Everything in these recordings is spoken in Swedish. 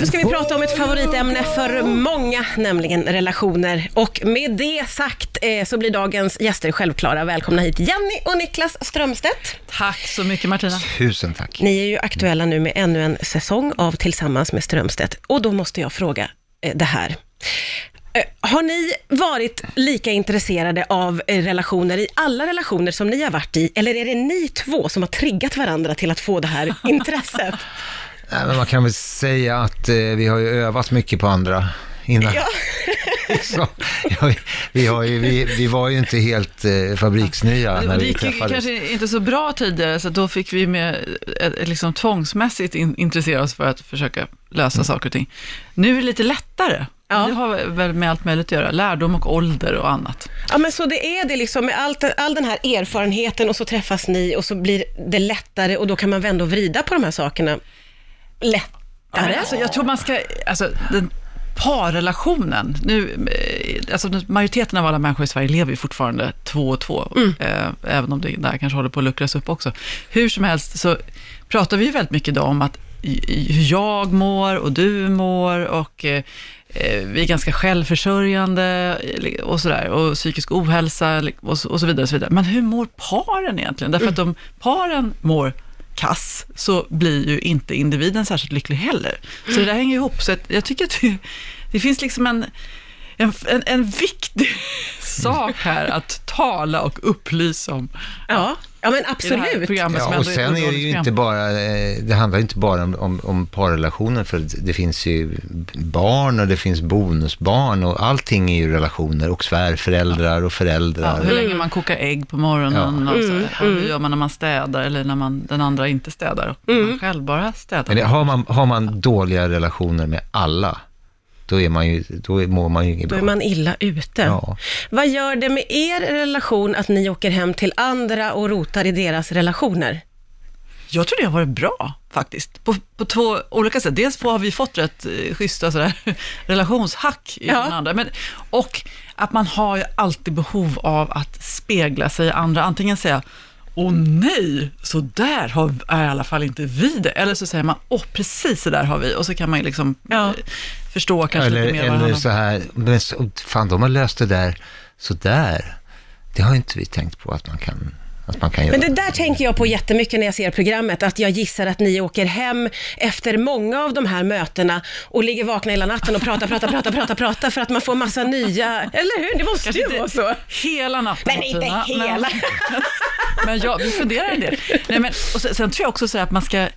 Nu ska vi prata om ett favoritämne för många, nämligen relationer. Och med det sagt eh, så blir dagens gäster självklara. Välkomna hit Jenny och Niklas Strömstedt. Tack så mycket Martina. Tusen tack. Ni är ju aktuella nu med ännu en säsong av Tillsammans med Strömstedt. Och då måste jag fråga eh, det här. Eh, Har ni varit lika intresserade av eh, relationer i alla relationer som ni har varit i? Eller är det ni två som har triggat varandra till att få det här intresset? Nej, men man kan väl säga att eh, vi har ju övat mycket på andra innan. Ja. Så, ja, vi, vi, har ju, vi, vi var ju inte helt eh, fabriksnya Det när vi gick ju träffades. kanske inte så bra tidigare, så då fick vi med, eh, liksom tvångsmässigt in, intressera oss för att försöka lösa saker och ting. Nu är det lite lättare. Ja. Det har väl med allt möjligt att göra, lärdom och ålder och annat. Ja, men så det är det liksom med allt, all den här erfarenheten och så träffas ni och så blir det lättare och då kan man vända och vrida på de här sakerna. Ja, men Lättare? alltså, jag tror man ska, alltså den parrelationen, nu, eh, alltså majoriteten av alla människor i Sverige lever ju fortfarande två och två, eh, även om det där kanske håller på att luckras upp också. Hur som helst så pratar vi ju väldigt mycket idag om att i- i- hur jag mår och du mår och eh, eh, vi är ganska självförsörjande eh, och sådär, och psykisk ohälsa eller- och så, och så vidare. Och så vidare. Men hur mår paren egentligen? Därför att om paren mår kass, så blir ju inte individen särskilt lycklig heller. Så det där hänger ihop. Så att jag tycker att det, det finns liksom en, en, en, en viktig sak här att tala och upplysa om. Ja, ja men I det här absolut. programmet som Ja, och ändå ett sen är det ju underhållningsprogram. inte bara, eh, det handlar ju inte bara om, om, om parrelationer, för det- det finns ju barn och det finns bonusbarn och allting är ju relationer och svärföräldrar och Ja, föräldrar. hur länge man kokar ägg på morgonen och så här. Hur gör man när man städar eller när man, den andra inte städar? och Man själv bara städar. Men det, har, man, har man dåliga relationer med alla, då, är man ju, då är- mår man ju inget Då bra. är man illa ute. Ja. Vad gör det med er relation att ni åker hem till andra och rotar i deras relationer? Jag tror det har varit bra faktiskt, på, på två olika sätt. Dels har vi fått rätt eh, schyssta sådär, relationshack i Ja. den andra, men, och att man har ju alltid behov av att spegla sig i andra. Antingen säga Åh nej, så där har, är i alla fall inte vi det. Eller så säger man, åh precis så där har vi. Och så kan man ju liksom eh, förstå kanske Eller, lite mer eller varandra. så här, men så, fan de har löst det där sådär. Det har ju inte vi tänkt på att man kan, att man kan göra. Men det där tänker jag på jättemycket när jag ser programmet, att jag gissar att ni åker hem efter många av de här mötena och ligger vakna hela natten och pratar, pratar, pratar, pratar, pratar för att man får massa nya, eller hur? Det måste Kanske ju vara inte så. hela natten. Men inte Martina, hela. Men, men ja, vi funderar en del. Nej, men, och sen, sen tror jag också så här att man ska...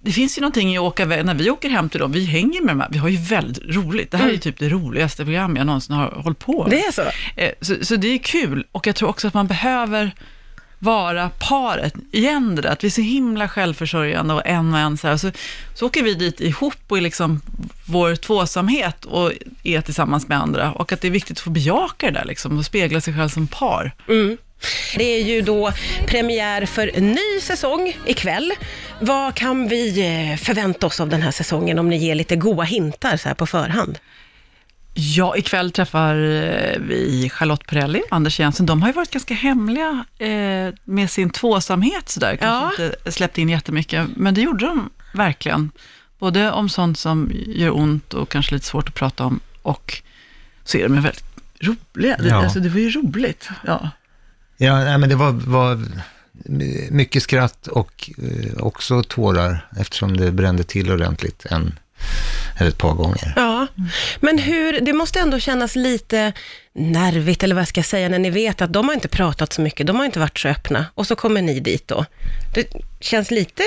Det finns ju någonting i att åka iväg, när vi åker hem till dem, vi hänger med dem, vi har ju väldigt roligt. Det här är ju typ det roligaste program jag någonsin har hållit på med. Mm. Det är så? Eh, Så, så det är kul och jag tror också att man behöver vara paret igen det där, att vi är så himla självförsörjande och en och en så här. Så, så åker vi dit ihop och i liksom vår tvåsamhet och är tillsammans med andra och att det är viktigt att få bejaka det där liksom och spegla sig själv som par. Det är ju då premiär för ny säsong ikväll. Vad kan vi eh, förvänta oss av den här säsongen om ni ger lite goa hintar så här på förhand? Ja, ikväll träffar eh, vi Charlotte Perrelli och Anders Jensen. De har ju varit ganska hemliga eh, med sin tvåsamhet sådär. Kanske inte släppt in jättemycket, men det gjorde de verkligen. Både om sånt som gör ont och kanske lite svårt att prata om och så är de ju väldigt roliga. Det- Ja. Alltså, det var ju roligt. Ja. Ja, nej, men det var, var mycket skratt och eh, också tårar eftersom det brände till ordentligt en eller ett par gånger. Ja, men hur, det måste ändå kännas lite nervigt eller vad jag ska säga när ni vet att de har inte pratat så mycket, de har inte varit så öppna och så kommer ni dit då. Det känns lite...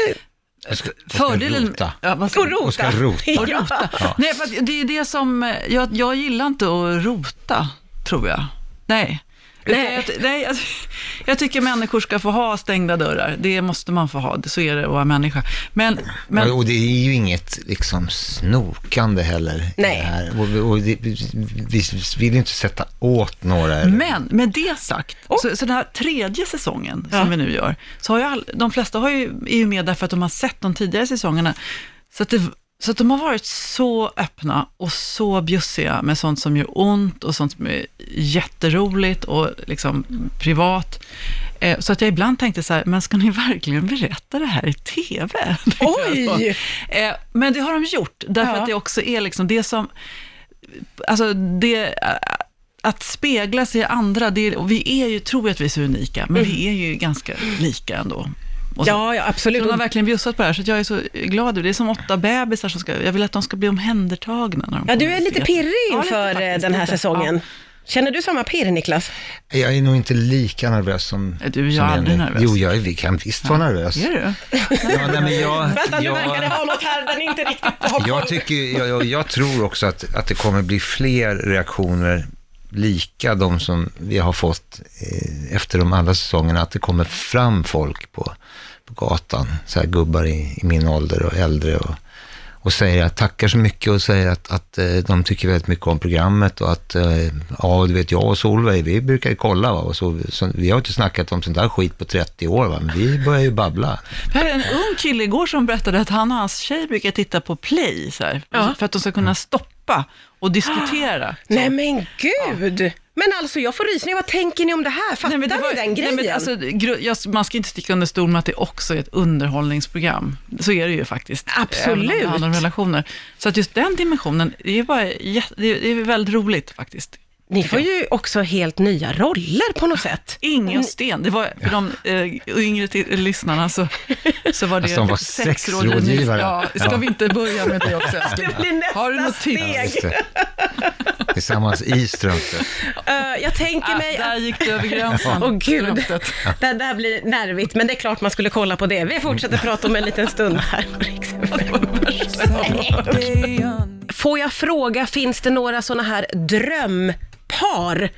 Och ska rota. Ja, vad ska- Och rota! Och ska rota. Ja. Ja. Nej, för att det är det som, eh, jag, jag gillar inte att rota, tror jag. Nej. Nej. Utan Jag, nej jag, jag tycker människor ska få ha stängda dörrar. Det måste man få ha, det- så är det att vara människa. Men, men Ja, och det är ju inget liksom snokande heller. i Nej. Det här. Och, och det, vi vill ju inte sätta åt några. eller- Men med det sagt, så, så den här tredje säsongen Ja. som vi nu gör, så har ju all, de flesta har ju, är ju med därför att de har sett de tidigare säsongerna. Så att, det, så att de har varit så öppna och så bjussiga med sånt som gör ont och sånt som är jätteroligt och liksom privat. Eh, Så att jag ibland tänkte så här, men ska ni verkligen berätta det här i TV? Tänkte jag Oj! då. Eh, Men det har de gjort, därför Ja. att det också är liksom det som, alltså det, att spegla sig i andra, det, och vi är ju, tror jag att vi är så unika, men vi är ju ganska lika ändå. Och så- Mm. Ja, ja, absolut. de har verkligen bjussat på det här, så att jag är så glad över det. Det är som åtta bebisar som ska... Jag vill att de ska bli omhändertagna. När de Ja, du kommer är ut. lite pirrig Ja, lite inför eh, faktiskt, den här lite. säsongen. Känner du samma pirr, Niklas? Jag är nog inte lika nervös som... Nej, du är ju som aldrig nu. nervös. Jo, jag är, vi kan visst vara nervös. Ja. Är du? Ja, nej, men jag, Vänta, nu verkar det jag, vara något här den inte riktigt har koll jag, tycker, jag, jag, jag tror också att, att det kommer bli fler reaktioner lika de som vi har fått eh, efter de andra säsongerna, att det kommer fram folk på, på gatan, så här gubbar i, i min ålder och äldre och, och säger att tackar så mycket och säger att, att eh, de tycker väldigt mycket om programmet och att, eh, ja du vet jag och Solveig, vi brukar ju kolla va, och så, så, vi har ju inte snackat om sånt där skit på 30 år va, men vi börjar ju babbla. Här är en ung kille igår som berättade att han och hans tjej brukar titta på Play, så här, Ja. för att de ska kunna stoppa och diskutera. Så. Nej men gud! Men alltså jag får rysningar, vad tänker ni om det här? Fattar Nej, men det var- ni den grejen? Nej, men alltså, gru- jag, man ska inte sticka under stol med att det också är ett underhållningsprogram. Så är det ju faktiskt. Absolut. Även om det handlar om relationer. Så att just den dimensionen, det är, bara, jä- det är, det är väldigt roligt faktiskt. ni får ju också helt nya roller på något sätt. Inga sten. Det var för de eh, yngre till, lyssnarna så, så var det Alltså, de var sexrådgivning. sexrådgivare. Ja, ska Ja. vi inte börja med det också? Det blir nästa Har du något tips? steg. Just det. Tillsammans i strumpor. Eh, jag tänker Ah, mig där att... gick du över gränsen. Åh gud, Strömstedt. det där blir nervigt, men det är klart man skulle kolla på det. Vi fortsätter Mm. prata om en liten stund här på Rix FM. Får jag fråga, finns det några sådana här drömpar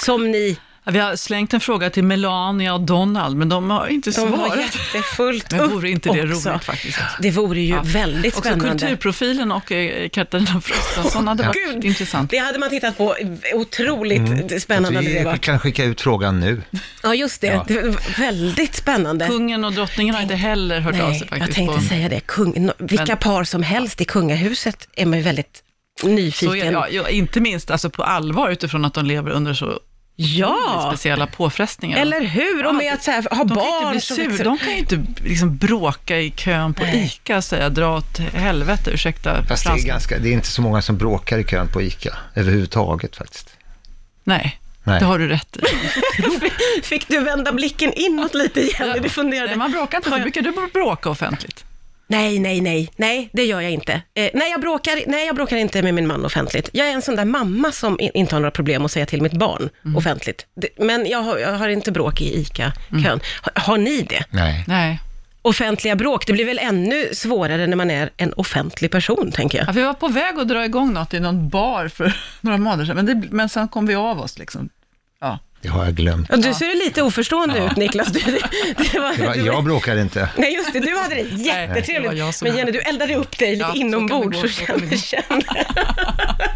som ni... Ja, Vi har slängt en fråga till Melania och Donald, men de har inte De har svarat. jättefullt Men vore inte det också. roligt faktiskt? Det vore ju väldigt Också spännande. kulturprofilen och eh, Katarina Frostenson hade varit Gud. intressant. Det hade man tittat på. Otroligt Mm. spännande hade det Vi varit. kan skicka ut frågan nu. Ja, just det. Ja. det var väldigt spännande. Kungen och drottningen har inte heller hört av sig Nej, jag faktiskt. tänkte på- säga det. Kung, no, vilka Men- par som helst i kungahuset är man ju väldigt Så är, nyfiken. ja, ja, inte minst alltså på allvar utifrån att de lever under så Ja, speciella påfrestningar. eller hur? Och med att så här, ha de kan inte barn bli som sur, växer- de kan ju inte liksom bråka i kön på Nej. ICA och säga dra åt helvete, ursäkta Fast det är, franskan. ganska, det är inte så många som bråkar i kön på ICA, överhuvudtaget faktiskt. Nej, Nej. det har du rätt i. Fick du vända blicken inåt lite igen? Du funderade. Nej, man bråkar inte, så brukar du bråka offentligt? Nej, nej, nej, nej, det gör jag inte. Eh, nej, jag bråkar, nej, jag bråkar inte med min man offentligt. Jag är en sån där mamma som i- inte har några problem att säga till mitt barn Mm. offentligt. Det, men jag har, jag har inte bråk i ICA-kön. Mm. Har, har ni det? Nej. Nej. Offentliga bråk, det blir väl ännu svårare när man är en offentlig person, tänker jag. Ja, vi var på väg att dra igång något i någon bar för några månader sedan, men, det, men sen kom vi av oss liksom. Ja. Det har jag glömt. Ja, Du ser lite oförstående ut, Niklas. Du, det, det var, Det var, du- jag bråkar inte. Nej, just det, du hade det det var jättetrevligt. jag som- men Jenny, du eldade upp dig lite Ja, så kan det inombords gå, så så kan det kände gå. kände.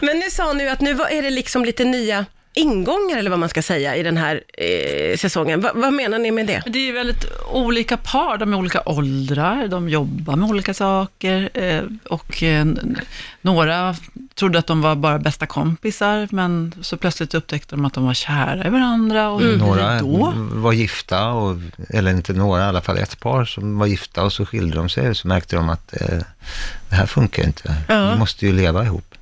Men nu sa nu att nu var- är det liksom lite nya ingångar eller vad man ska säga i den här eh, säsongen. Va, vad menar ni med det? Men det är ju väldigt olika par, de är olika åldrar, de jobbar med olika saker eh, och eh, n- några trodde att de var bara bästa kompisar, men så plötsligt upptäckte de att de var kära i varandra och hur blir det Mm. Några då? var gifta, och, eller inte några, i alla fall ett par som var gifta och så skilde de sig och så märkte de att eh, det här funkar inte. Vi måste ju leva ihop.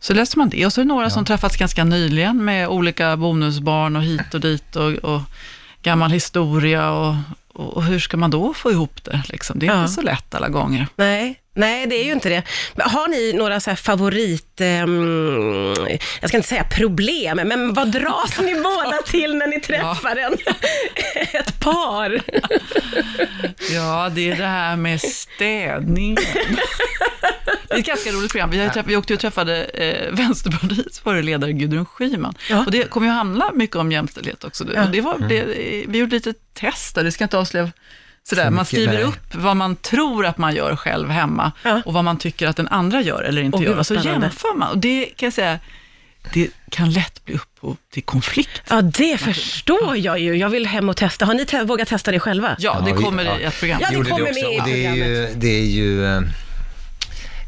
Så läste man det och så är det några som träffats ganska nyligen med olika bonusbarn och hit och dit och, och gammal historia och, och, och hur ska man då få ihop det? Liksom? Det är Ja. inte så lätt alla gånger. Nej, nej, det är ju inte det. Men Har ni några så här favorit, ehm, jag ska inte säga problem, men vad dras ni båda till när ni träffar en, ett par? Ja, det är det här med städning. Det är ett ganska roligt program. Vi, har ju träff- vi åkte ju och träffade eh, Vänsterpartiets förre ledare Gudrun Schyman. Ja. Och det kommer ju handla mycket om jämställdhet också. Och det var, det, vi gjorde lite test där, det ska inte avslöja Sådär, man mycket, skriver nej. upp vad man tror att man gör själv hemma Ja. och vad man tycker att den andra gör eller inte Åh, gud, gör. vad Och så spännande. jämför man. Och det kan jag säga, det kan lätt bli upphov till konflikt. Ja, det förstår jag ju. Jag vill hem och testa. Har ni te- vågat testa det själva? Ja, det Ja, vi- kommer ja. i ett program. Ja, det Gjorde kommer också, med i och det är ju, det är ju eh,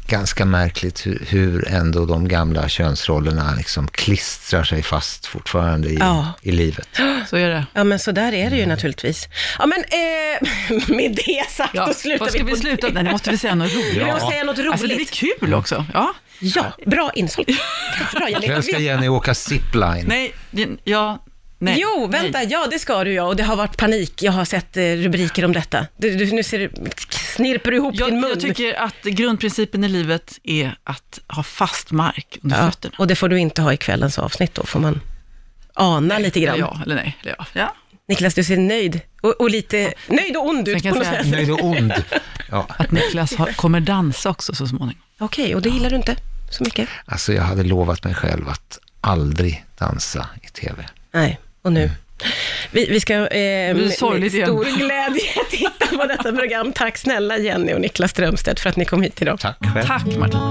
ganska märkligt hur, hur ändå de gamla könsrollerna liksom klistrar sig fast fortfarande i, Ja. i livet. Så är det. Ja, men så där är det ju naturligtvis. Ja, men eh, med det sagt, Ja, då slutar vad ska vi, på sluta? det. Nej, nu måste vi säga något roligt. Vi Ja. måste säga något roligt. Alltså, det blir kul också. Ja. Ja, bra insålt. Bra, Jenny. Ikväll ska Jenny åka zipline. Nej, ja, nej. Jo, vänta, ja det ska du ja, och det har varit panik. Jag har sett eh, rubriker om detta. Du, du, nu ser du, snirper du ihop Jag, din mun. jag tycker att grundprincipen i livet är att ha fast mark under ja, fötterna. och det får du inte ha i kvällens avsnitt då, får man ana lite grann. Eller ja, eller nej. Eller ja. Ja. Niklas, du ser nöjd och, och lite nöjd och ond Sen ut kan på jag något säga- sätt. Nöjd och ond. Ja, Att Niklas har, kommer dansa också så småningom. Okej, och det gillar du inte så mycket? alltså jag hade lovat mig själv att aldrig dansa i tv. Nej, och nu? Vi, vi ska eh, med sorgligt igen. stor glädje titta på detta program. Tack snälla Jenny och Niklas Strömstedt för att ni kom hit idag. Tack själv. Tack Martin.